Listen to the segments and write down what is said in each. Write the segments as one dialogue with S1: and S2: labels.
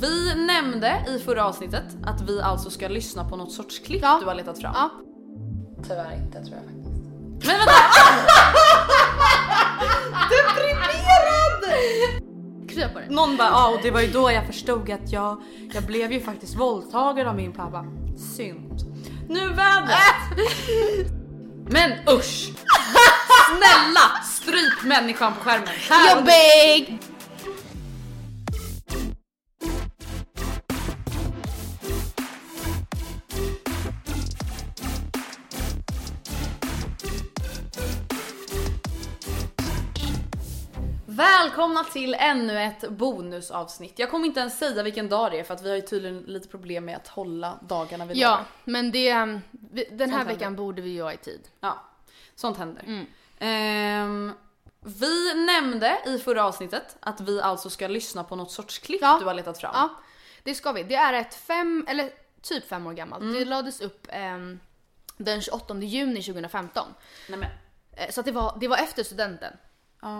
S1: Vi nämnde i förra avsnittet att vi alltså ska lyssna på något sorts klipp du har letat fram.
S2: Ja.
S1: Tyvärr inte tror jag faktiskt. Men vänta! Deprimerad!
S2: Krya på det.
S1: Någon bara ja och det var ju då jag förstod att jag, jag blev ju faktiskt våldtagen av min pappa. Synd. Nu vädret! Men usch! Snälla stryp människan på skärmen. Här och nu.
S2: Jobbig!
S1: Välkomna till ännu ett bonusavsnitt. Jag kommer inte ens säga vilken dag det är för att vi har ju tydligen lite problem med att hålla dagarna vid
S2: Ja,
S1: dagar.
S2: men det... ehm, vi- Den här
S1: händer. Mm.
S2: veckan borde vi göra i tid.
S1: Ja, sånt händer.
S2: Mm.
S1: Ehm, vi nämnde i förra avsnittet att vi alltså ska lyssna på något sorts klipp
S2: Ja.
S1: du har letat fram.
S2: Ja, det ska vi. Det är ett fem, eller typ fem år gammalt.
S1: Mm.
S2: Det lades upp ehm, den 28 juni 2015.
S1: Nej, men,
S2: Eh, Så att det, var, det var efter studenten.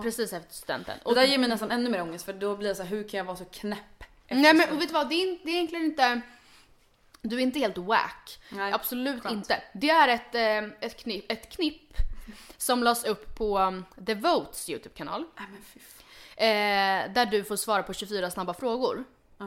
S2: Precis efter studenten.
S1: och det där ger mig nästan ännu mer ångest för då blir jag så här, hur kan jag vara så knäpp?
S2: Nej men och vet du vad, det är, in- det är egentligen inte... Du är inte helt wack.
S1: Nej,
S2: Absolut
S1: skönt.
S2: inte. Det är ett, eh, ett, knipp, ett knipp som lades upp på um, The Votes YouTube-kanal. Eh, där du får svara på 24 snabba frågor.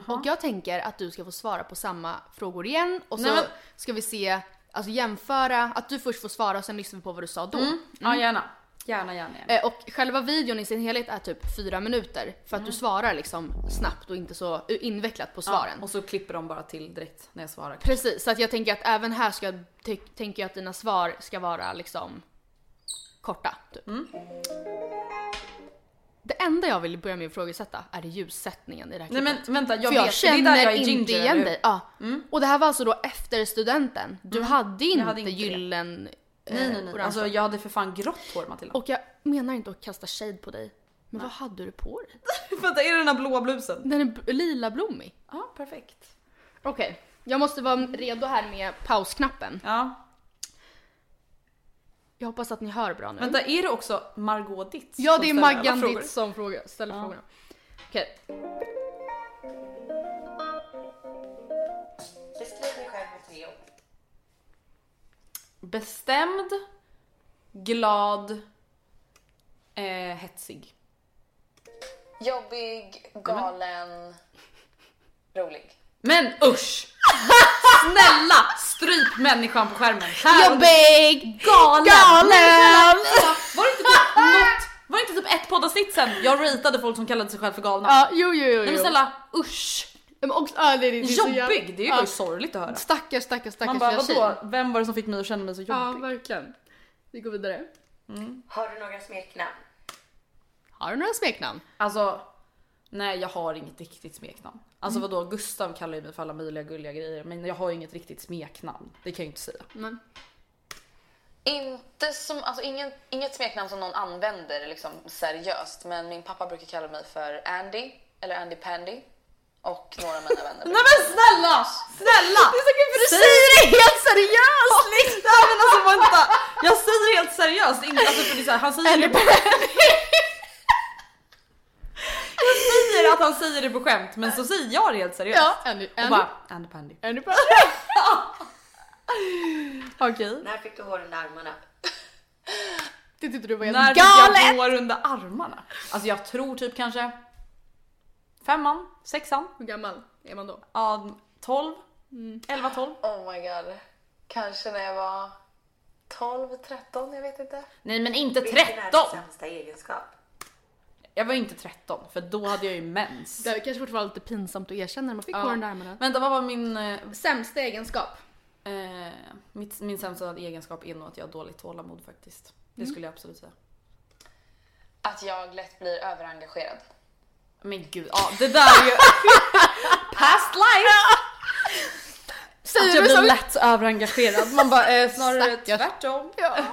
S2: Och jag tänker att du ska få svara på samma frågor igen och så
S1: Nej, men-
S2: ska vi se, alltså jämföra, att du först får svara och sen lyssnar vi på vad du sa då. Mm.
S1: Ja gärna. Gärna gärna. gärna.
S2: Eh, Och själva videon i sin helhet är typ fyra minuter för att
S1: Mm.
S2: du svarar liksom snabbt och inte så invecklat på svaren.
S1: Och så klipper de bara till direkt när jag svarar.
S2: Precis, så att jag tänker att även här ska, ty- tänker jag att dina svar ska vara liksom korta. Typ.
S1: Mm.
S2: Det enda jag vill börja med att ifrågasätta är ljussättningen i det här
S1: Nej men
S2: klippet.
S1: vänta jag
S2: För
S1: vet
S2: jag
S1: det är
S2: känner
S1: där jag är
S2: inte
S1: ginger,
S2: igen
S1: eller hur? Mm.
S2: dig. Ja. Och det här var alltså då efter studenten. Du hade inte,
S1: hade inte det.
S2: gyllen... eh,
S1: Nej nej nej.
S2: orange.
S1: Alltså jag hade för fan grått hår Matilda.
S2: Och jag menar inte att kasta shade på dig. Men vad hade du på dig?
S1: Vänta är det den här blåa blusen?
S2: Den är b- lila blommig.
S1: Ja perfekt.
S2: Okej, jag måste vara redo här med pausknappen.
S1: Ja.
S2: Jag hoppas att ni hör bra nu.
S1: Vänta är det också Margot Ditz?
S2: Ja
S1: som
S2: det är
S1: ställer alla
S2: Maggan
S1: frågor?
S2: Ditt som frågar, ställer frågorna. Okej.
S3: Beskriv dig själv med tre ord.
S1: Bestämd, glad, eh, hetsig.
S3: Jobbig, galen, rolig.
S1: Men usch! Snälla stryp människan på skärmen. Här och nu.
S2: Jobbig!
S1: Galen!
S2: Galen!
S1: Var det inte typ något, var det inte typ ett poddavsnitt sen jag rateade folk som kallade sig själva för galna?
S2: Ja, jo jo jo. jo.
S1: Nej men snälla usch!
S2: Men också, ja, det, är- det är så jävla-
S1: Jobbig! Det är ju
S2: ja.
S1: sorgligt att höra.
S2: Stackars stackars stackars
S1: Man bara
S2: lilla tjej.
S1: vadå, vem var det som fick mig att känna mig så
S2: Ja
S1: jobbig?
S2: verkligen. Vi går vidare.
S1: Mm.
S3: Har du några smeknamn?
S2: Har du några smeknamn?
S1: Alltså nej jag har inget riktigt smeknamn. Alltså
S2: Mm.
S1: vadå Gustav kallar ju mig för alla möjliga gulliga grejer men jag har ju inget riktigt smeknamn. Det kan jag ju inte säga.
S2: Men,
S3: Inte som, alltså ingen, inget smeknamn som någon använder liksom seriöst, men min pappa brukar kalla mig för Andy, eller Andy Pandy. och några av mina vänner.
S1: Nej men snälla! Snälla!
S2: Det är så kul för du säger det helt seriöst!
S1: Nej men alltså vänta! Jag säger det helt seriöst, inte alltså för det är så här, han säger det på Jag säger att han säger det på skämt men så säger jag det helt seriöst.
S2: Ja, Andy.
S1: Och
S2: Andy.
S1: bara, Andy Pandy.
S2: Andy på. Okej.
S3: När fick du hår under armarna?
S2: Det tyckte du var
S1: När
S2: helt
S1: fick jag
S2: galet!
S1: hår under armarna? Alltså jag tror typ kanske femman, sexan,
S2: Hur gammal är man då?
S1: ja, 12, 11, 12.
S3: Oh my god. Kanske när jag var 12, 13, jag vet inte.
S1: Nej men inte
S3: Vilken är
S1: 13!
S3: din sämsta egenskap?
S1: Jag var ju inte 13 för då hade jag ju mens.
S2: Det här kanske fortfarande var lite pinsamt att erkänna när man fick
S1: Ja.
S2: hår under armarna.
S1: Vänta vad var min, eh,
S2: Sämsta egenskap?
S1: eh, mitt, min sämsta egenskap är nog att jag har dåligt tålamod faktiskt. Det skulle jag absolut säga.
S3: Att jag lätt blir överengagerad.
S1: Men gud, ja det där är ju... Past life! Att jag
S2: du
S1: blir
S2: som-
S1: lätt överengagerad. Man bara eh, snarare
S2: Stackars.
S1: tvärtom.
S2: Ja.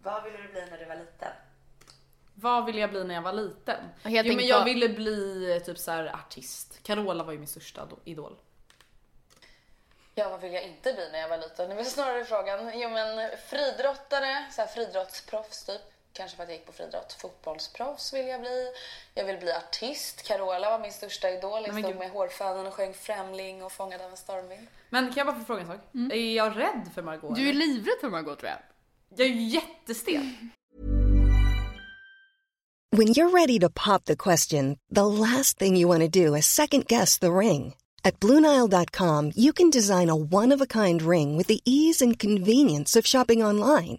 S3: Vad ville du bli när du var liten?
S1: Vad ville jag bli när jag var liten?
S2: Och helt
S1: jo men
S2: enkelt
S1: jag
S2: vara-
S1: ville bli eh, typ så här artist. Carola var ju min största do- idol.
S3: Ja, vad vill jag inte bli när jag var liten? Det var snarare frågan. Jo, men fridrottare, så här friidrottsproffs typ. Kanske för att jag gick på friidrott. Fotbollsproffs vill jag bli. Jag vill bli artist. Carola var min största idol. Jag
S1: men
S3: stod
S1: gud.
S3: med hårfönen och sjöng Främling och Fångad av en stormvind.
S1: Men kan jag bara få fråga en sak? Är jag rädd för Margot?
S2: Mm. Du är Alltså,
S1: eller?
S2: livrädd för Margot tror jag.
S1: Jag är ju jättestel.
S4: When you're ready to pop the question, the last thing you want to do is second guess the ring. At Bluenile.com, you can design a one of a kind ring with the ease and convenience of shopping online.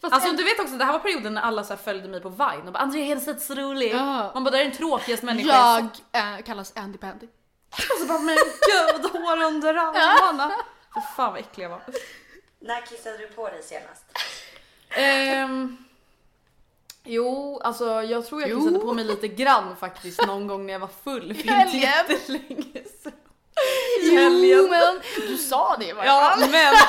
S2: Fast
S1: Alltså du vet också det här var perioden när alla så här följde mig på Vine och bara Andrea Hedenstedt så rolig.
S2: Ja.
S1: Man bara det är den tråkigaste människan
S2: jag
S1: sett."
S2: eh, kallas Andy Pandy.
S1: Och så bara men gud hår under armarna. Fy fan vad äcklig jag var.
S3: När kissade du på dig senast?
S1: Ehm, jo alltså jag tror jag
S2: Jo.
S1: kissade på mig lite grann faktiskt någon gång när jag var full. För inte
S2: helgen.
S1: jättelänge sedan. I helgen.
S2: men du sa det i varje
S1: Ja
S2: fall.
S1: men.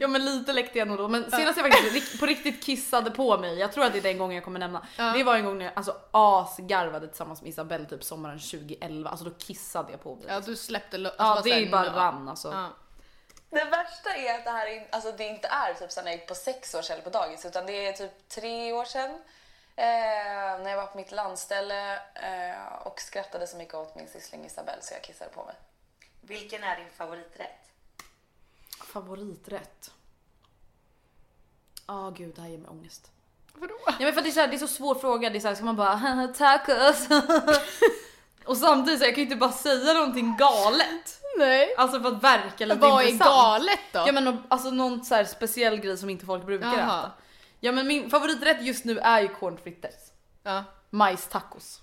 S1: ja men lite läckte jag nog då men senast jag faktiskt rik- på riktigt kissade på mig, jag tror att det är den gången jag kommer nämna. Det var en gång när jag alltså asgarvade tillsammans med Isabelle typ sommaren 2011, alltså då kissade jag på mig.
S2: Ja, du släppte lo- alltså,
S1: Ja
S2: bara
S1: det
S2: såhär,
S1: är bara
S2: nu.
S1: rann alltså.
S2: Ja.
S3: Det värsta är att det här är, alltså det inte är typ sen jag gick på sex år eller på dagis utan det är typ tre år sedan. Eh, när jag var på mitt landställe eh, och skrattade så mycket åt min syssling Isabelle så jag kissade på mig. Vilken är din favoriträtt?
S1: Favoriträtt? Ja gud det här ger mig ångest.
S2: Vadå?
S1: Nej men för att det är, så här, det är så svår fråga, det är så här, ska man bara "Haha, tacos? Och samtidigt så här, jag kan ju inte bara säga någonting galet.
S2: Nej.
S1: Alltså för att verka lite
S2: Vad är
S1: intressant.
S2: galet då?
S1: Ja men nå- alltså någon så här speciell grej som inte folk brukar
S2: Jaha.
S1: äta. Ja men min favoriträtt just nu är ju cornfritters.
S2: Ja.
S1: Majstacos.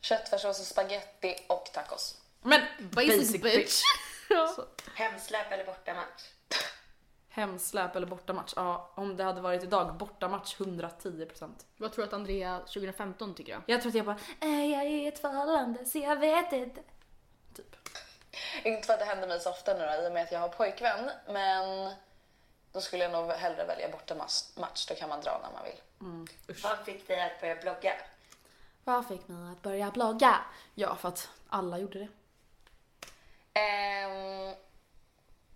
S3: Köttfärssås och spaghetti och tacos.
S1: Men
S2: Basic bitch.
S1: Så.
S3: Hemsläpp eller bortamatch?
S1: Hemsläp eller bortamatch? Ja, om det hade varit idag, bortamatch 110%.
S2: Vad tror du att Andrea 2015 tycker då?
S1: Jag tror att jag bara, "Äh, jag är i ett förhållande så jag vet inte. Typ.
S3: Inte för att det händer mig så ofta nu då, i och med att jag har pojkvän. Men då skulle jag nog hellre välja bortamatch. Då kan man dra när man vill.
S5: Vad fick dig att börja blogga?
S1: Vad fick mig att börja blogga? Ja, för att alla gjorde det.
S3: Ehm,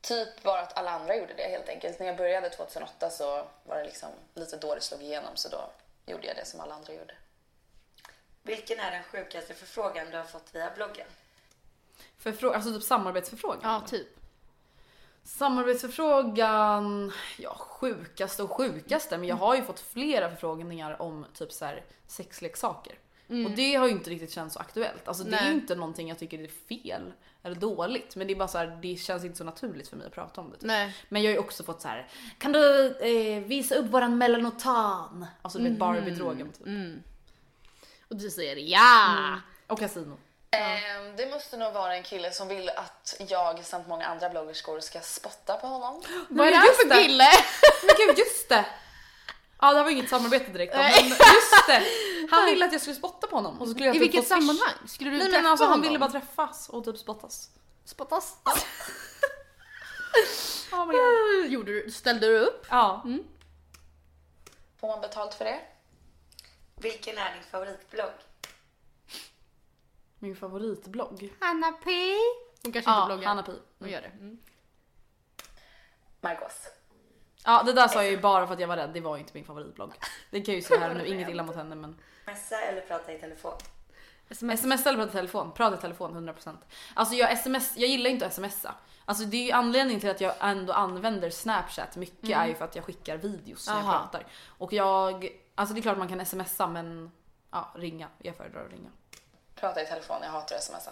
S3: typ bara att alla andra gjorde det helt enkelt. När jag började 2008 så var det liksom lite då det slog igenom. Så då gjorde jag det som alla andra gjorde.
S5: Vilken är den sjukaste förfrågan du har fått via bloggen?
S1: Förfrå- alltså typ samarbetsförfrågan.
S2: Ja, typ.
S1: Samarbetsförfrågan, ja sjukaste och sjukaste men jag har ju fått flera förfrågningar om typ så här sexleksaker. Och det har ju inte riktigt känts så aktuellt. Alltså det är ju
S2: Nej.
S1: inte någonting jag tycker är fel eller dåligt men det är bara så här, det känns inte så naturligt för mig att prata om det. typ.
S2: Nej.
S1: Men jag har ju också fått så här, kan du eh, visa upp våran melanotan? Alltså du vet Barbie-drogen typ.
S2: Och du säger ja!
S1: Och kasino.
S3: Ehm, det måste nog vara en kille som vill att jag samt många andra bloggerskor ska spotta på honom.
S1: Vad är det här för kille? Men gud, just det! Ja det här var inget samarbete direkt då, men just det! Han ville att jag skulle spotta på honom och så skulle jag
S2: I
S1: typ
S2: vilket
S1: få swish.
S2: sammanhang? Skulle du
S1: Nej men
S2: träffa
S1: alltså han
S2: honom?
S1: ville bara träffas och typ spottas.
S2: Spottas.
S1: Oh my God.
S2: Gjorde du, ställde du upp?
S1: Ja. Mm.
S3: Får man betalt för det?
S5: Vilken är din favoritblogg?
S1: Min favoritblogg.
S2: Hanna P. Hon kanske inte
S1: Ja,
S2: bloggar.
S1: Hanna Pi.
S2: Hon gör det. Mm.
S3: Margos.
S1: Ja det där sa jag ju bara för att jag var rädd, det var ju inte min favoritblogg. Det kan jag ju säga här nu, inget illa mot henne men.
S5: Messa eller prata i telefon?
S1: Sms eller prata i telefon? Prata i telefon 100%. Alltså jag, sms, jag gillar ju inte att smsa. Alltså det är ju anledningen till att jag ändå använder snapchat mycket är ju för att jag skickar videos när jag
S2: Mm. Aha.
S1: pratar. Och jag, alltså det är klart man kan smsa men ja, ringa. Jag föredrar att ringa.
S3: Prata i telefon, jag hatar att smsa.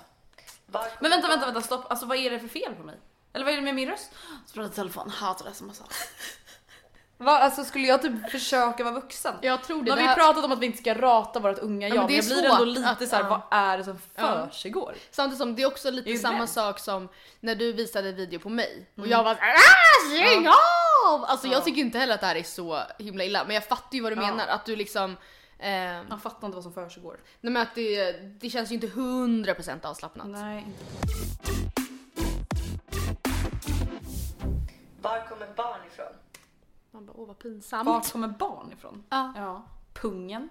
S5: Var
S1: Men vänta, vänta, vänta, stopp. Alltså vad är det för fel på mig? Eller vad är det med min röst? Så pratar jag i telefon, hatar sms. Va, alltså skulle jag typ försöka vara vuxen?
S2: Jag tror det.
S1: Nu har
S2: Det
S1: vi
S2: här-
S1: pratat om att vi inte ska rata vårt unga jag,
S2: men
S1: men,
S2: det är
S1: jag blir
S2: svårt
S1: ändå lite
S2: att-
S1: så här,
S2: ja.
S1: vad är det som
S2: Ja.
S1: försiggår?
S2: Samtidigt som det är Mm. också lite
S1: Är du
S2: samma
S1: rädd?
S2: sak som när du visade en video på mig och jag var såhär "Ah, stäng av! Alltså jag tycker inte heller att det här är så himla illa men jag fattar ju vad du
S1: Ja.
S2: menar att du liksom ehm,
S1: Jag fattar inte vad som försiggår.
S2: Nej men att det, det känns ju inte 100% avslappnat.
S1: Nej,
S5: Var kommer barn ifrån?
S2: Man bara åh vad pinsamt.
S1: Var kommer barn ifrån?
S2: Ja.
S1: Ja. Pungen.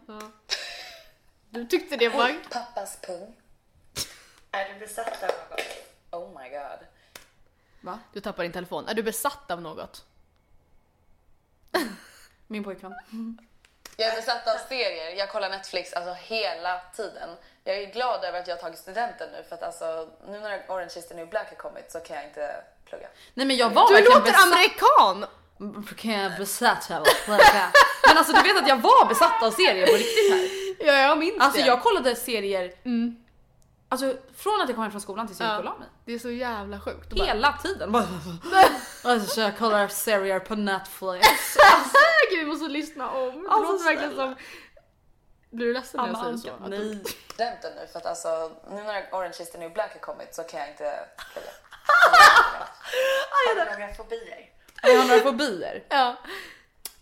S2: Du tyckte det var...
S3: Pappas pung.
S5: Är du besatt av något?
S3: Oh my god.
S1: Va?
S2: Du tappar din telefon. Är du besatt av något?
S1: Min pojkvän.
S2: Mm.
S3: Jag är besatt av serier. Jag kollar Netflix alltså hela tiden. Jag är glad över att jag har tagit studenten nu för att alltså, nu när Orange is the new black har kommit så kan jag inte plugga.
S1: Nej men jag var
S2: Du
S1: verkligen
S2: låter amerikan!
S1: besatt. Kan jag besatt av Men alltså du vet att jag var besatt av serier på riktigt här.
S2: Ja jag minns
S1: Alltså
S2: det. Mm.
S1: jag kollade serier Alltså från att jag kom hem från skolan tills jag gick och la mig.
S2: Det är så jävla sjukt. Och bara,
S1: Hela tiden. Bara- alltså jag kollar serier på Netflix.
S2: Gud vi måste lyssna om. Det
S1: Alltså,
S2: låter verkligen
S1: snälla.
S2: som... Blir du ledsen när jag säger så?
S1: Anka,
S2: Att-
S1: Nej.
S3: Studenten nu för att alltså, nu när Orange is the new black har kommit så kan jag inte plugga.
S5: Har du några fobier?
S1: Jag har några fobier.
S2: Ja.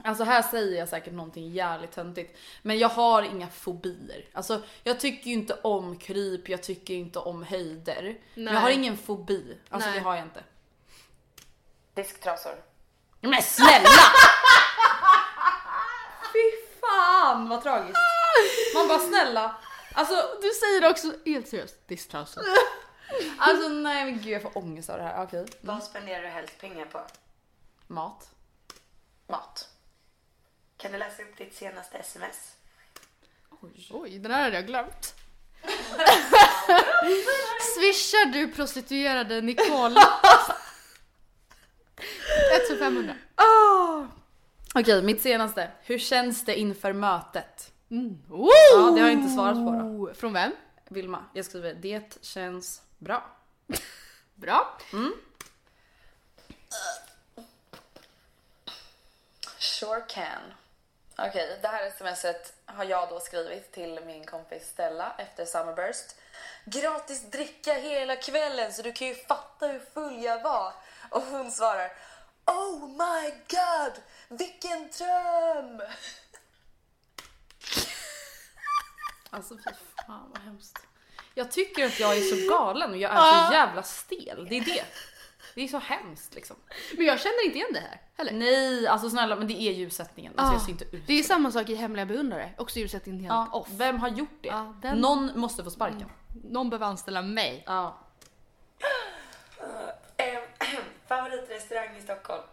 S1: Alltså här säger jag säkert någonting jävligt töntigt. Men jag har inga fobier. Alltså jag tycker ju inte om kryp, jag tycker inte om höjder. Men jag har ingen fobi. Alltså
S2: Nej.
S1: det har jag inte.
S3: Disktrasor.
S1: Men snälla! Fy fan vad tragiskt. Man bara snälla. Alltså,
S2: Du säger det också helt seriöst. Distrausen.
S1: alltså nej men gud jag får ångest av det här. Okej.
S5: Vad spenderar du helst pengar på?
S1: Mat.
S3: Mat.
S5: Kan du läsa upp ditt senaste sms?
S2: Oj, den här hade jag glömt. Swishar du prostituerade Nicole? 1500.
S1: Okej mitt senaste. Hur känns det inför mötet?
S2: Oh!
S1: Ja det har jag inte svarat på då.
S2: Från vem?
S1: Vilma, jag skriver det känns bra.
S2: Bra.
S1: Mm.
S3: Sure can. Okej, det här smset har jag då skrivit till min kompis Stella efter Summerburst. Gratis dricka hela kvällen så du kan ju fatta hur full jag var. Och hon svarar Oh my god! Vilken dröm!
S1: Alltså fy fan vad hemskt. Jag tycker att jag är så galen och jag är så jävla stel. Det är det. Det är så hemskt liksom.
S2: Men jag känner inte igen det här heller.
S1: Nej, alltså snälla men det är ljussättningen. Alltså, jag ser inte ut.
S2: Det är samma sak i Hemliga beundrare, också ljussättningen helt
S1: Ja,
S2: off.
S1: Ah, vem har gjort det?
S2: Ja, den-
S1: Någon måste få sparken.
S2: Någon behöver anställa mig.
S1: Ja.
S5: Eh, favoritrestaurang i Stockholm?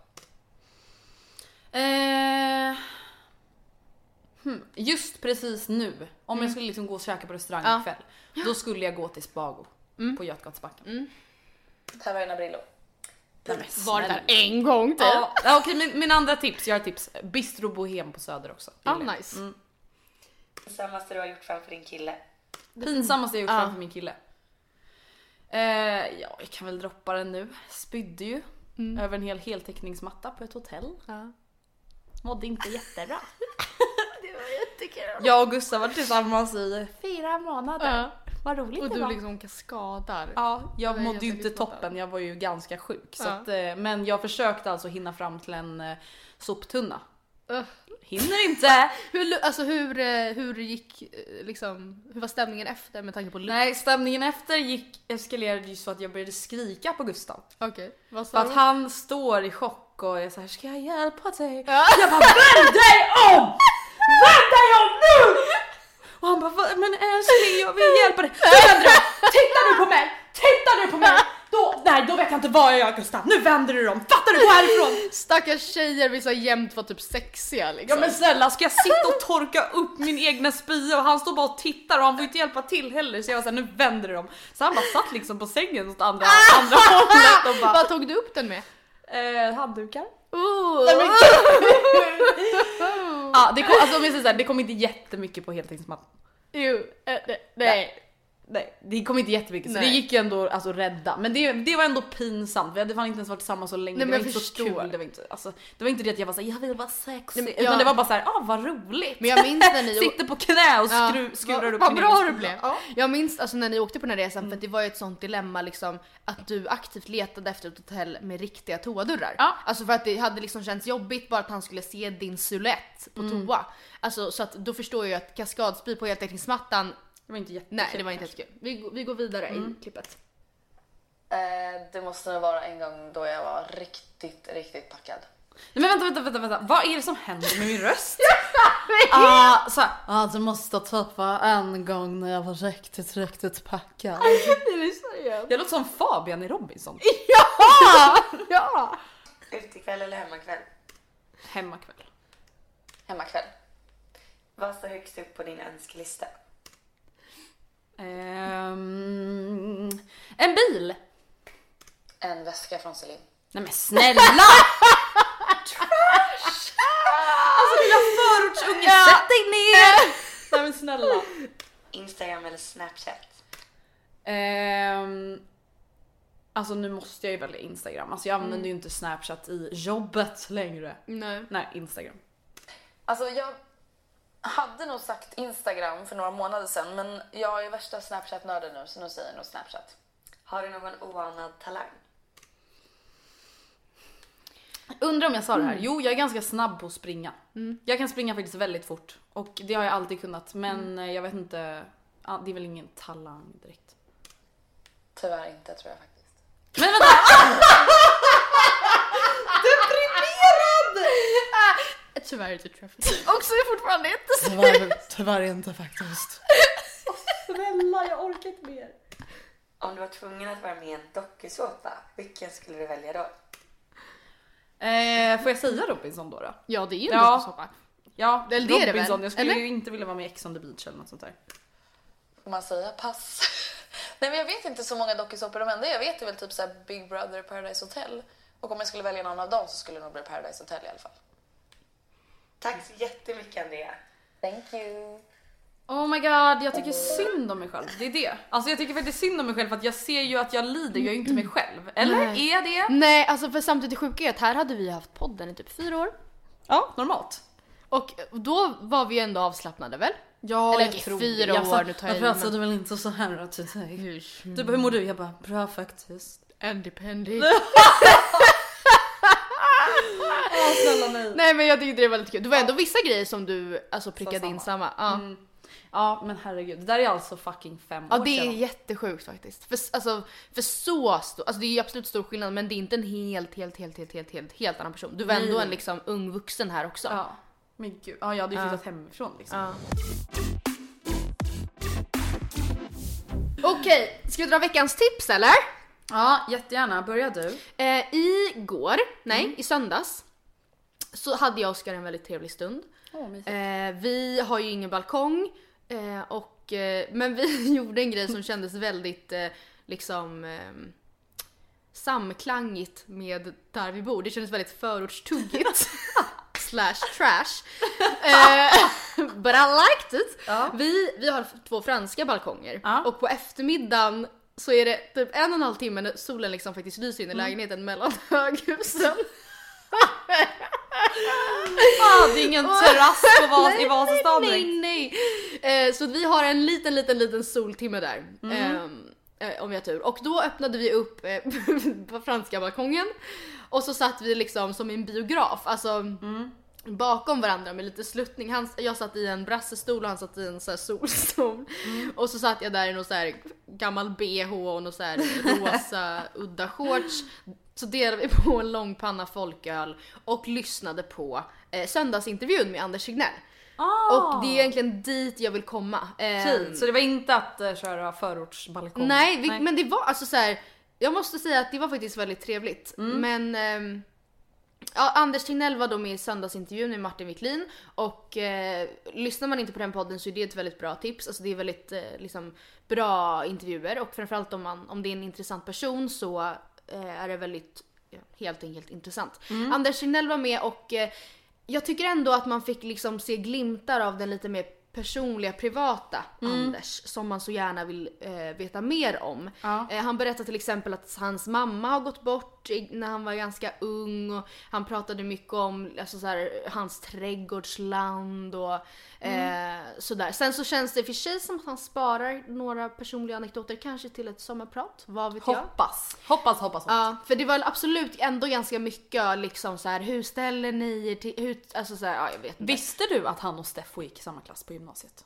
S1: Eh, hmm, just precis nu, om jag skulle liksom gå och käka på restaurang
S2: Mm. Ja. Mm.
S1: ikväll, då skulle jag gå till Spago på Götgatsbacken.
S3: Taverna Brillo.
S2: Var det där en gång typ.
S1: Ja, ja, okej, min, min andra tips, jag har tips. Bistro Bohem på Söder också. Det
S2: Ja,
S1: gillar jag.
S2: nice.
S5: Pinsammaste du har gjort framför din kille?
S1: Pinsammaste jag gjort
S2: Ja.
S1: framför min kille. Eh, ja, jag kan väl droppa den nu. Spydde ju över en hel heltäckningsmatta på ett hotell.
S2: Mm. Ja.
S1: Mådde inte jättebra.
S2: Det var jättekul.
S1: jag och Gustav var tillsammans i fyra månader.
S2: Ja.
S1: Vad roligt
S2: Och
S1: det
S2: du
S1: var.
S2: liksom kaskadar.
S1: Ja, jag
S2: Det var
S1: mådde ju inte
S2: jätteliknande.
S1: toppen. Jag var ju ganska sjuk. Så
S2: Ja.
S1: att, eh, men jag försökte alltså hinna fram till en eh, soptunna.
S2: Ugh.
S1: Hinner inte!
S2: Hur, alltså hur, eh, hur gick eh, liksom, hur var stämningen efter med tanke på lukt?
S1: Nej, stämningen efter gick, eskalerade ju så att jag började skrika på Gustav.
S2: Okej, vad
S1: För
S2: sa
S1: att
S2: du?
S1: han står i chock och är såhär, ska jag hjälpa dig?
S2: Ja.
S1: Jag bara, vänd dig om! Vänd dig om nu! Och han bara, "Va- men älskling jag vill hjälpa dig. Nu vänder du om! Titta nu på mig! Titta nu på mig! Då, nej, då vet jag inte vad jag gör Gustav. Nu vänder du om, fattar du? Gå härifrån!
S2: Stackars tjejer vill så jämt vara typ sexiga
S1: Ja
S2: liksom.
S1: men snälla, ska jag sitta och torka upp min egna spya och han står bara och tittar och han får inte hjälpa till heller så jag var såhär, nu vänder du om. Så han bara satt liksom på sängen åt andra, andra hållet och bara,
S2: Vad tog du upp den med?
S1: eh, handdukar?
S2: Oh.
S1: Nej, men Ja, det kom, alltså om jag säger så här, det kom inte jättemycket på heltäckningsmattan.
S2: Jo, eh, ne- nej.
S1: Nej, det kom inte jättemycket så
S2: Nej.
S1: det gick ju ändå alltså, att rädda. Men det, det var ändå pinsamt, vi hade fan inte ens varit tillsammans så länge.
S2: Nej,
S1: det var
S2: men
S1: inte
S2: jag förstår.
S1: så kul. Det var inte, alltså, det var inte det att jag var såhär, jag vill vara sexig.
S2: Nej, men
S1: Utan
S2: jag-
S1: det var bara såhär, ah vad roligt!
S2: Men jag minns när ni-
S1: Sitter på knä och
S2: Ja,
S1: skru, skurar
S2: vad-
S1: upp
S2: Vad
S1: min
S2: bra
S1: egen
S2: du
S1: spya.
S2: blev.
S1: Ja. Mm.
S2: Jag minns alltså, när ni åkte på den här resan för att det var ju ett sånt dilemma liksom att du aktivt letade efter ett hotell med riktiga toadörrar.
S1: Ja.
S2: Alltså för att det hade liksom känts jobbigt bara att han skulle se din silhuett på
S1: Mm.
S2: toa. Alltså så att då förstår jag ju att kaskadspy på heltäckningsmattan,
S1: Det var inte jättemycket.
S2: nej det var inte jättekul. Vi, går- vi går vidare
S1: Mm.
S2: i klippet.
S3: Eh, det måste nog vara en gång då jag var riktigt, riktigt packad.
S1: Nej men vänta, vänta, vänta, vänta. Vad är det som händer med min röst? Ah, så här, ah, du måste tappa en gång när jag var riktigt, riktigt packad. Jag låter som Fabian i Robinson.
S2: Ja!
S5: Utekväll eller hemmakväll?
S1: Hemmakväll.
S3: Hemmakväll.
S5: Vad står högst upp på din önskelista?
S1: Ehm, en bil!
S3: En väska från Celine.
S1: Nej men snälla! Trash! Alltså lilla förortsunge, sätt dig ner! Nej men snälla.
S5: Instagram eller Snapchat?
S1: Ehm, alltså nu måste jag ju välja Instagram, alltså jag
S2: Mm.
S1: använder ju inte Snapchat i jobbet längre.
S2: Nej.
S1: Nej, Instagram.
S3: Alltså jag hade nog sagt Instagram för några månader sedan men jag är värsta Snapchat-nörden nu så nu säger jag nog Snapchat.
S5: Har du någon oanad talang?
S1: Undrar om jag sa det
S2: Mm.
S1: här? Jo, jag är ganska snabb på att springa. Jag kan springa faktiskt väldigt fort och det har jag alltid kunnat men
S2: Mm.
S1: eh, jag vet inte, ja, det är väl ingen talang direkt.
S3: Tyvärr inte tror jag faktiskt.
S1: Men vänta!
S2: Tyvärr inte traffic. Också är fortfarande inte så
S1: Tyvärr inte faktiskt. Snälla jag orkar inte mer.
S5: Om du var tvungen att vara med i en dokusåpa, vilken skulle du välja då?
S1: Eh, får jag säga Robinson då? då?
S2: Ja det är ju en
S1: Ja.
S2: dokusåpa.
S1: Ja,
S2: Eller det är det väl?
S1: Robinson. jag skulle
S2: Eller?
S1: ju inte vilja vara med i Ex on the beach eller något sånt där.
S3: Får man säga pass? Nej men jag vet inte så många dokusåpor. De enda jag vet är väl typ så här Big Brother Paradise Hotel. Och om jag skulle välja någon av dem så skulle det nog bli Paradise Hotel i alla fall.
S5: Tack så jättemycket Andrea!
S3: Thank you.
S1: Oh my god, jag tycker synd om mig själv. Det är det. Alltså jag tycker faktiskt synd om mig själv för att jag ser ju att jag lider, jag är ju inte mig själv. Eller
S2: Nej.
S1: är det?
S2: Nej alltså för samtidigt det sjuka är att här hade vi haft podden i typ fyra år.
S1: Ja, normalt.
S2: Och då var vi ändå avslappnade väl?
S1: Ja,
S2: Eller okej, fyra
S1: Jag
S2: år,
S1: sa-
S2: nu tar jag i,
S1: Jag pratade väl inte så här till dig. Du bara, hur mår du? Jag bara, bra faktiskt.
S2: Independent.
S1: Åh snälla nej.
S2: Nej men jag tyckte det var lite kul. Det var ändå vissa grejer som du alltså prickade in samma. Ja.
S1: Ja men herregud, det där är alltså fucking fem
S2: Ja
S1: Mm, år
S2: det är
S1: sedan.
S2: jättesjukt faktiskt. För, s- alltså, för så stor, alltså det är ju absolut stor skillnad men det är inte en helt, helt, helt, helt, helt, helt, helt annan person. Du var ändå en liksom ung vuxen här också.
S1: Ja. Men gud, ja, jag hade ju flyttat hemifrån liksom.
S2: Okej, ska vi dra veckans tips eller?
S1: Ja, jättegärna. Börja du.
S2: Eh, igår, nej i söndags, så hade jag och Oskar en väldigt trevlig stund. eh, vi har ju ingen balkong, eh, och, eh, men vi gjorde en grej som kändes väldigt eh, liksom eh, samklangigt med där vi bor. Det kändes väldigt förortstuggigt. Slash trash. Eh, But I liked it. Vi, vi har två franska balkonger
S1: Ja.
S2: och på eftermiddagen så är det typ en och en halv timme när solen liksom faktiskt lyser in i lägenheten mellan höghusen.
S1: Ah, det är ingen terrass på Vas- i Vasastan
S2: Nej,
S1: direkt.
S2: nej, nej. Eh, Så att vi har en liten, liten, liten soltimme där. Eh, eh, Om vi har tur. Och då öppnade vi upp eh, på franska balkongen. Och så satt vi liksom som i en biograf. Alltså bakom varandra med lite sluttning. Han, jag satt i en brassestol och han satt i en så här solstol. Och så satt jag där i någon så här gammal bh och någon så här rosa udda shorts. Så delade vi på en långpanna folköl och lyssnade på eh, söndagsintervjun med Anders Tegnell. Och det är egentligen dit jag vill komma. Eh,
S1: Fint, så det var inte att eh, köra förortsbalkong?
S2: Nej, vi, men det var alltså så här. Jag måste säga att det var faktiskt väldigt trevligt. Men ehm, ja, Anders Tegnell var då med i söndagsintervjun med Martin Wiklin och eh, lyssnar man inte på den podden så är det ett väldigt bra tips. Alltså det är väldigt eh, liksom, bra intervjuer och framförallt om, man, om det är en intressant person så eh, är det väldigt ja, helt enkelt intressant. Anders Tegnell var med och eh, jag tycker ändå att man fick liksom se glimtar av den lite mer personliga privata Anders som man så gärna vill eh, veta mer om. Eh, han berättade till exempel att hans mamma har gått bort i, när han var ganska ung och han pratade mycket om alltså, så här, hans trädgårdsland och eh, sådär. Sen så känns det i och för sig som att han sparar några personliga anekdoter kanske till ett sommarprat, vad vet jag.
S1: Hoppas. Hoppas, hoppas, hoppas.
S2: Ja, för det var absolut ändå ganska mycket liksom så här hur ställer ni er till, hur, alltså så här, ja jag vet inte.
S1: Visste du att han och Steffo gick i samma klass på gymnasiet?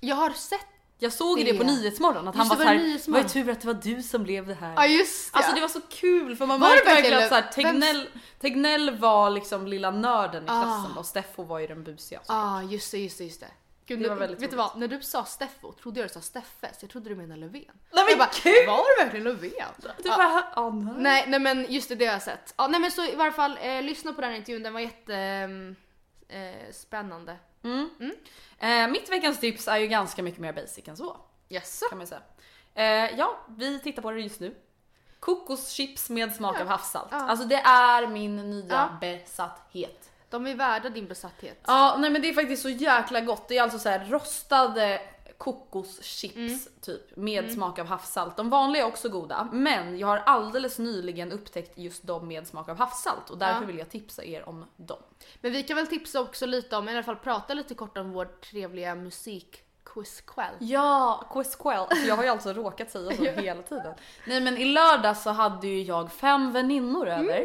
S2: Jag har sett
S1: Jag såg ju det på
S2: Det-
S1: Nyhetsmorgon att han
S2: Just
S1: var
S2: det, var det
S1: såhär,
S2: Nyhetsmorgon?
S1: vad är tur att det var du som blev det här.
S2: Ja just
S1: Alltså det var så kul för man
S2: Var det
S1: märkte verkligen
S2: verkligen
S1: att så här,
S2: det?
S1: Tegnell, Tegnell var liksom lilla nörden i klassen och Steffo var ju den busiga. Så.
S2: Ja ah, just det, just det, just det. Gud,
S1: Det
S2: nu,
S1: var väldigt
S2: vet du
S1: roligt.
S2: vad? När du sa Steffo trodde jag du sa Steffe, så jag trodde du menade Löfven.
S1: Nej men
S2: jag bara,
S1: gud!
S2: var det verkligen Löfven?
S1: Du
S2: Ja.
S1: bara, ah, nej.
S2: Nej, nej men just det, det har jag sett. Ja, nej men så i varje fall, eh, lyssna på den här intervjun, den var jätte... ehm, Eh, spännande.
S1: Eh, mitt veckans tips är ju ganska mycket mer basic än så.
S2: Jaså?
S1: Kan man ju säga. Eh, ja, vi tittar på det just nu. Kokoschips med smak av havssalt. Alltså det är min nya
S2: Ja.
S1: besatthet.
S2: De är värda din besatthet.
S1: Ja, nej men det är faktiskt så jäkla gott. Det är alltså så här rostade kokoschips typ med smak av havssalt. De vanliga är också goda, men jag har alldeles nyligen upptäckt just de med smak av havssalt och därför
S2: Ja.
S1: vill jag tipsa er om dem.
S2: Men vi kan väl tipsa också lite om, i alla fall prata lite kort om vår trevliga musikquizkväll.
S1: Ja, Quizquel. Alltså, jag har ju alltså råkat säga så hela tiden. Nej men i lördag så hade ju jag fem väninnor över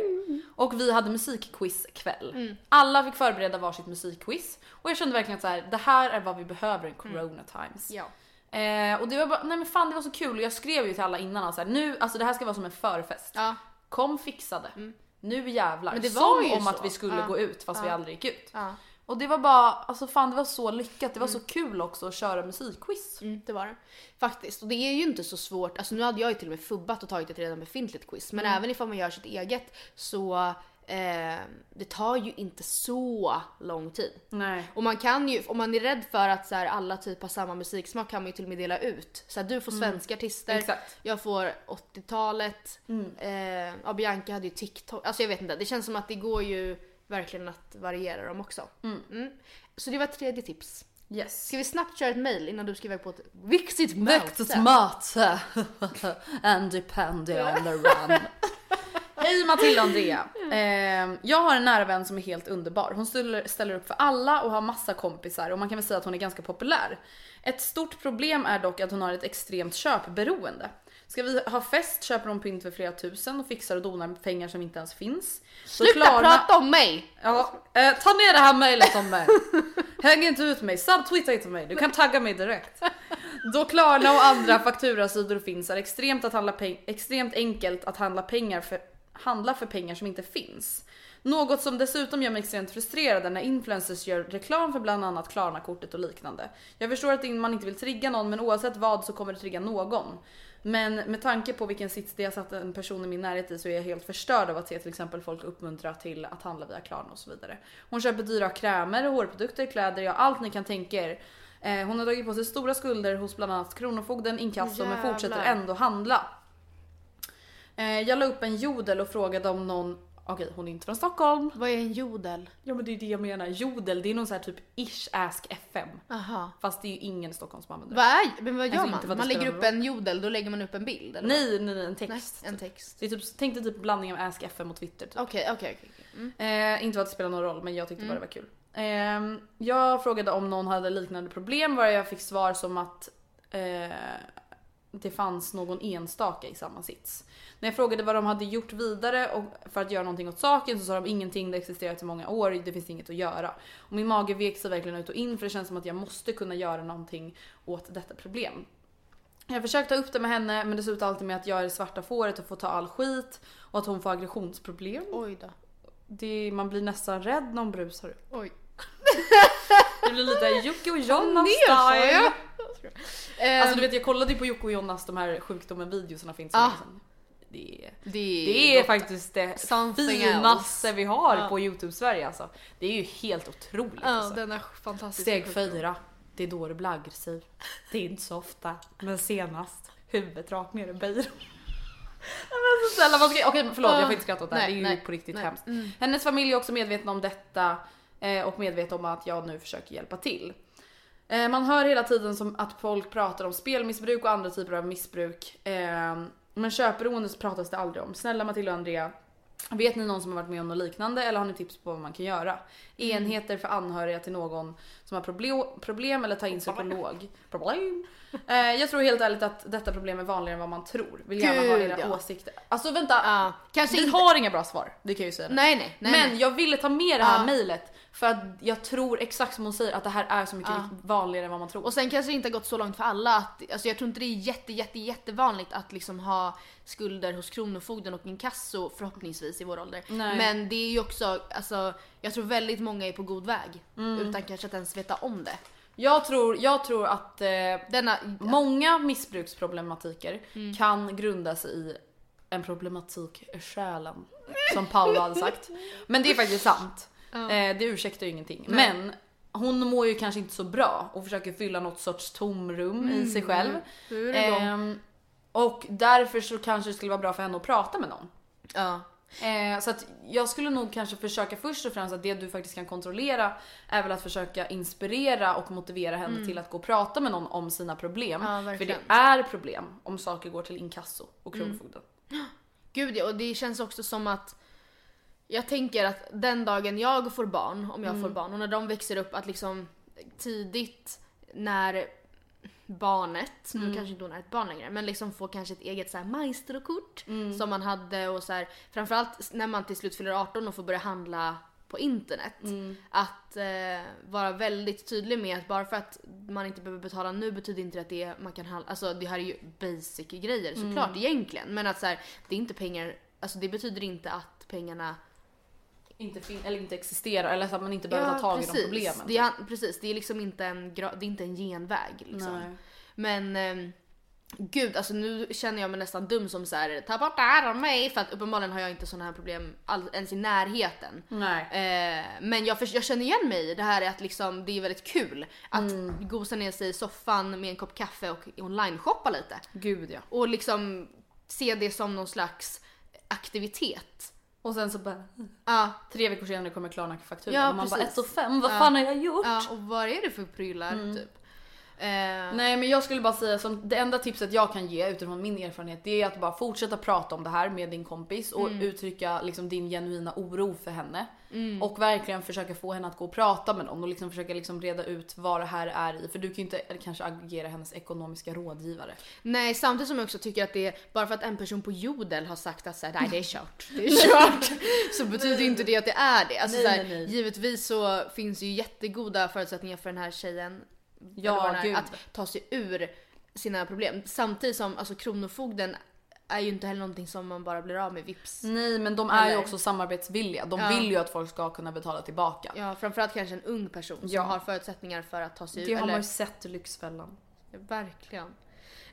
S1: och vi hade musikquizkväll. Alla fick förbereda varsitt musikquiz och jag kände verkligen att så här, det här är vad vi behöver i corona times.
S2: Ja.
S1: Eh, och det var bara, nej men fan det var så kul och jag skrev ju till alla innan att så här, nu, alltså det här ska vara som en förfest.
S2: Ja. Mm.
S1: Kom fixade. Nu jävlar.
S2: Men det
S1: som
S2: var ju
S1: om
S2: så.
S1: att vi skulle
S2: Ja.
S1: gå ut fast vi aldrig gick ut.
S2: Ja.
S1: Och det var bara, alltså fan det var så lyckat. Det var så kul också att köra musikquiz.
S2: Mm, det var det. Faktiskt. Och det är ju inte så svårt. Alltså nu hade jag ju till och med fubbat och tagit ett redan befintligt quiz. Men även ifall man gör sitt eget så eh, det tar ju inte så lång tid.
S1: Nej.
S2: Och man kan ju, om man är rädd för att så här, alla typ har samma musiksmak kan man ju till och med dela ut. Så här, du får svenska artister,
S1: Exakt.
S2: jag får 80-talet, eh, ja, Bianca hade ju TikTok. Alltså jag vet inte, det känns som att det går ju verkligen att variera dem också. Mm. Så det var ett tredje tips.
S1: Yes.
S2: Ska vi snabbt köra ett mail innan du ska iväg på ett viktigt
S1: Viktigt
S2: möte?
S1: möte. And depending on the run. Hej Matilda och Andrea. Eh, jag har en nära vän som är helt underbar. Hon ställer, ställer upp för alla och har massa kompisar och man kan väl säga att hon är ganska populär. Ett stort problem är dock att hon har ett extremt köpberoende. Ska vi ha fest köper de pynt för flera tusen och fixar och donar med pengar som inte ens finns. Så
S2: Sluta
S1: Klarna-
S2: prata om mig!
S1: Ja, eh, ta ner det här mejlet om mig. Häng inte ut mig, subtweeta inte mig, du kan tagga mig direkt. Då Klarna och andra fakturasidor finns är extremt, att handla peng- extremt enkelt att handla, pengar för, handla för pengar som inte finns. Något som dessutom gör mig extremt frustrerad när influencers gör reklam för bland annat Klarna-kortet och liknande. Jag förstår att man inte vill trigga någon men oavsett vad så kommer det trigga någon. Men med tanke på vilken sits det har satt en person i min närhet i så är jag helt förstörd av att se till exempel folk uppmuntra till att handla via Klarna och så vidare. Hon köper dyra krämer, hårprodukter, kläder, ja allt ni kan tänka er. Eh, hon har dragit på sig stora skulder hos bland annat Kronofogden, inkasso men
S2: Jävlar.
S1: fortsätter ändå handla. Eh, jag la upp en jodel och frågade om någon Okej hon är inte från Stockholm.
S2: Vad är en jodel?
S1: Ja men det är det jag menar. Jodel det är någon så här typ ish ask FM.
S2: Aha.
S1: Fast det är ju ingen i Stockholm som använder det.
S2: Vad är, men vad gör
S1: Alltså, inte vad
S2: man?
S1: det
S2: man lägger
S1: spelar
S2: upp en jodel, då lägger man upp en bild? Eller
S1: Nej nej nej en
S2: vad? Nej,
S1: text.
S2: en text.
S1: Det är typ, tänk dig typ blandning av ask FM och Twitter typ.
S2: Okej, okej, okej. okej. Mm.
S1: Eh, inte för att det spelar någon roll men jag tyckte bara det var kul. Ehm, jag frågade om någon hade liknande problem var jag fick svar som att eh, det fanns någon enstaka i samma sits. När jag frågade vad de hade gjort vidare och för att göra någonting åt saken så sa de ingenting, det har existerat i många år, det finns inget att göra. Och min mage vek sig verkligen ut och in för det känns som att jag måste kunna göra någonting åt detta problem. Jag försökte ta upp det med henne men det slutade alltid med att jag är det svarta fåret och får ta all skit och att hon får aggressionsproblem
S2: Oj då.
S1: det, man blir nästan rädd när hon brusar upp.
S2: Oj.
S1: Det blir lite Jocke och Jonas
S2: Ner sa jag! Ehm,
S1: style. Alltså du vet jag kollade ju på Jocke och Jonas de här sjukdomen videosarna finns
S2: Ah.
S1: ah. det, är-
S2: det,
S1: det är faktiskt det
S2: Something
S1: finaste vi har
S2: Ja.
S1: på Youtube Sverige alltså. Det är ju helt otroligt
S2: Ja,
S1: alltså.
S2: Ah, den är fantastisk.
S1: Steg fyra. Det är då det blaggar sig. Det är inte så ofta, men senast. Huvudet rakt ner i byrån. alltså, Snälla vad ska- Okej men förlåt jag får inte skratta åt det här.
S2: Nej,
S1: Det är ju
S2: nej,
S1: på riktigt
S2: nej.
S1: hemskt. Hennes familj är också medvetna om detta eh, och medvetna om att jag nu försöker hjälpa till. Eh, Man hör hela tiden som att folk pratar om spelmissbruk och andra typer av missbruk. Eh, Men köpberoende så pratas det aldrig om. Snälla Matilda och Andrea. Vet ni någon som har varit med om något liknande eller har ni tips på vad man kan göra? Enheter för anhöriga till någon som har problem, problem eller ta in psykolog. Problem. Eh, Jag tror helt ärligt att detta problem är vanligare än vad man tror. Vill gärna ha
S2: Gud,
S1: era
S2: ja.
S1: åsikter. Alltså vänta.
S2: Ja, kanske
S1: vi
S2: inte-
S1: har inga bra svar. Det kan jag ju säga.
S2: Nej, nej, nej,
S1: Men
S2: nej.
S1: jag ville ta med det här
S2: Ja.
S1: mejlet för att jag tror exakt som hon säger att det här är så mycket
S2: Ja.
S1: vanligare än vad man tror.
S2: Och sen kanske det inte har gått så långt för alla att, alltså jag tror inte det är jätte, jätte, jättevanligt att liksom ha skulder hos Kronofogden och inkasso förhoppningsvis i vår ålder.
S1: Nej.
S2: Men det är ju också, alltså jag tror väldigt många är på god väg utan kanske att ens veta om det.
S1: Jag tror, jag tror att eh,
S2: Denna, Mm.
S1: många missbruksproblematiker kan grundas i en problematik i själen. Som Paolo hade sagt. Men det är faktiskt sant. Eh, det ursäktar ju ingenting. Men hon mår ju kanske inte så bra och försöker fylla något sorts tomrum
S2: Mm.
S1: i sig själv.
S2: Nu är det igång.
S1: Ehm, och därför så kanske det skulle vara bra för henne att prata med någon.
S2: ja.
S1: Eh, så att jag skulle nog kanske försöka först och främst att det du faktiskt kan kontrollera är väl att försöka inspirera och motivera henne till att gå och prata med någon om sina problem.
S2: Mm. Ja,
S1: För det
S2: verkligen. Mm.
S1: är problem om saker går till inkasso och kronofogden.
S2: Gud ja, och det känns också som att jag tänker att den dagen jag får barn, om jag får barn, och när de växer upp att liksom tidigt när barnet, nu kanske inte hon är ett barn längre, men liksom får kanske ett eget så här maestrokort som man hade och så här, framförallt när man till slut fyller 18 och får börja handla på internet. Att eh, vara väldigt tydlig med att bara för att man inte behöver betala nu betyder inte det att det är, man kan handla, alltså det här är ju basic grejer såklart egentligen. Men att så här, det är inte pengar, alltså det betyder inte att pengarna
S1: Inte, fin- eller inte existerar eller så att man inte behöver ta tag i de problemen. typ.
S2: det är, precis, det är liksom inte en, gra- det är inte en genväg. Liksom.
S1: Nej.
S2: Men ehm, gud, alltså nu känner jag mig nästan dum som så här, ta bort det här av mig. För att uppenbarligen har jag inte sådana här problem all, ens i närheten.
S1: Nej.
S2: Eh, men jag, förs- jag känner igen mig i det här är att liksom, det är väldigt kul att
S1: Mm.
S2: gosa ner sig i soffan med en kopp kaffe och online-shoppa lite.
S1: Gud ja.
S2: Och liksom se det som någon slags aktivitet.
S1: Och sen så bara
S2: Ja,
S1: tre veckor senare kommer Klarna-fakturan
S2: Ja,
S1: och man bara
S2: precis.
S1: ett och fem, vad
S2: Ja.
S1: fan har jag gjort? Mm.
S2: Ja, och vad är det för prylar typ? Eh,
S1: Nej men jag skulle bara säga som det enda tipset jag kan ge utifrån min erfarenhet det är att bara fortsätta prata om det här med din kompis och uttrycka liksom din genuina oro för henne. Och verkligen försöka få henne att gå och prata med någon och liksom försöka liksom reda ut vad det här är i. För du kan ju inte eller kanske agera hennes ekonomiska rådgivare.
S2: Nej, samtidigt som jag också tycker att det är bara för att en person på jodel har sagt att så här, nej det är kört, det är kört. så betyder ju inte det att det är det. Alltså,
S1: Nej,
S2: så här,
S1: nej, nej.
S2: Givetvis så finns ju jättegoda förutsättningar för den här tjejen
S1: Ja,
S2: eller vad den är,
S1: gud.
S2: att ta sig ur sina problem. Samtidigt som alltså, Kronofogden är ju inte heller någonting som man bara blir av med vips.
S1: Nej men de är ju
S2: Eller-
S1: också samarbetsvilliga. De
S2: Ja.
S1: vill ju att folk ska kunna betala tillbaka.
S2: Ja, framförallt kanske en ung person som
S1: Ja.
S2: har förutsättningar för att ta sig
S1: Det
S2: ur.
S1: har man
S2: eller-
S1: ju sett i Lyxfällan.
S2: Verkligen.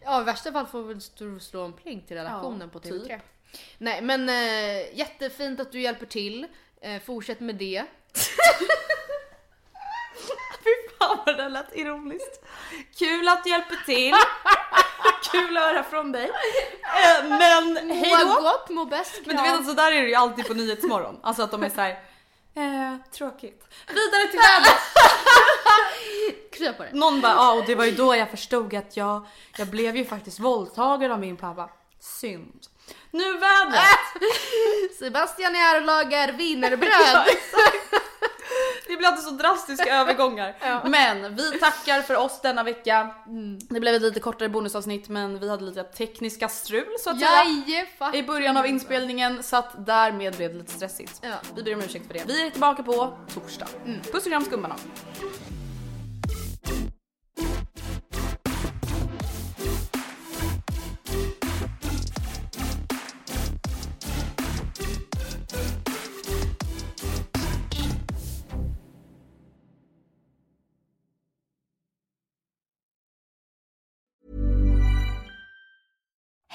S2: Ja i värsta fall får vi väl stå- slå en pling till redaktionen
S1: Ja, typ.
S2: på TV3. Nej men eh, jättefint att du hjälper till. Eh, fortsätt med det.
S1: Fan vad det lät ironiskt. Kul att du hjälper till. Kul att höra från dig. Eh, Men
S2: Må
S1: hejdå.
S2: gott, må bäst,
S1: Men du vet
S2: kram.
S1: att sådär är det ju alltid på Nyhetsmorgon. Alltså att de är såhär, eh, tråkigt. Vidare till vädret.
S2: Krya på det.
S1: Någon bara, ja och det var ju då jag förstod att jag, jag blev ju faktiskt våldtagen av min pappa. Synd. Nu vädret.
S2: Sebastian är här och lagar wienerbröd.
S1: Det blir alltid så drastiska övergångar. Men vi tackar för oss denna vecka. Det blev ett lite kortare bonusavsnitt men vi hade lite tekniska strul så att säga.
S2: Jaje, fuck.
S1: i början av inspelningen så att därmed blev det lite stressigt.
S2: Ja.
S1: Vi ber om ursäkt för det. Vi är tillbaka på torsdag. Puss och kram skumbanan.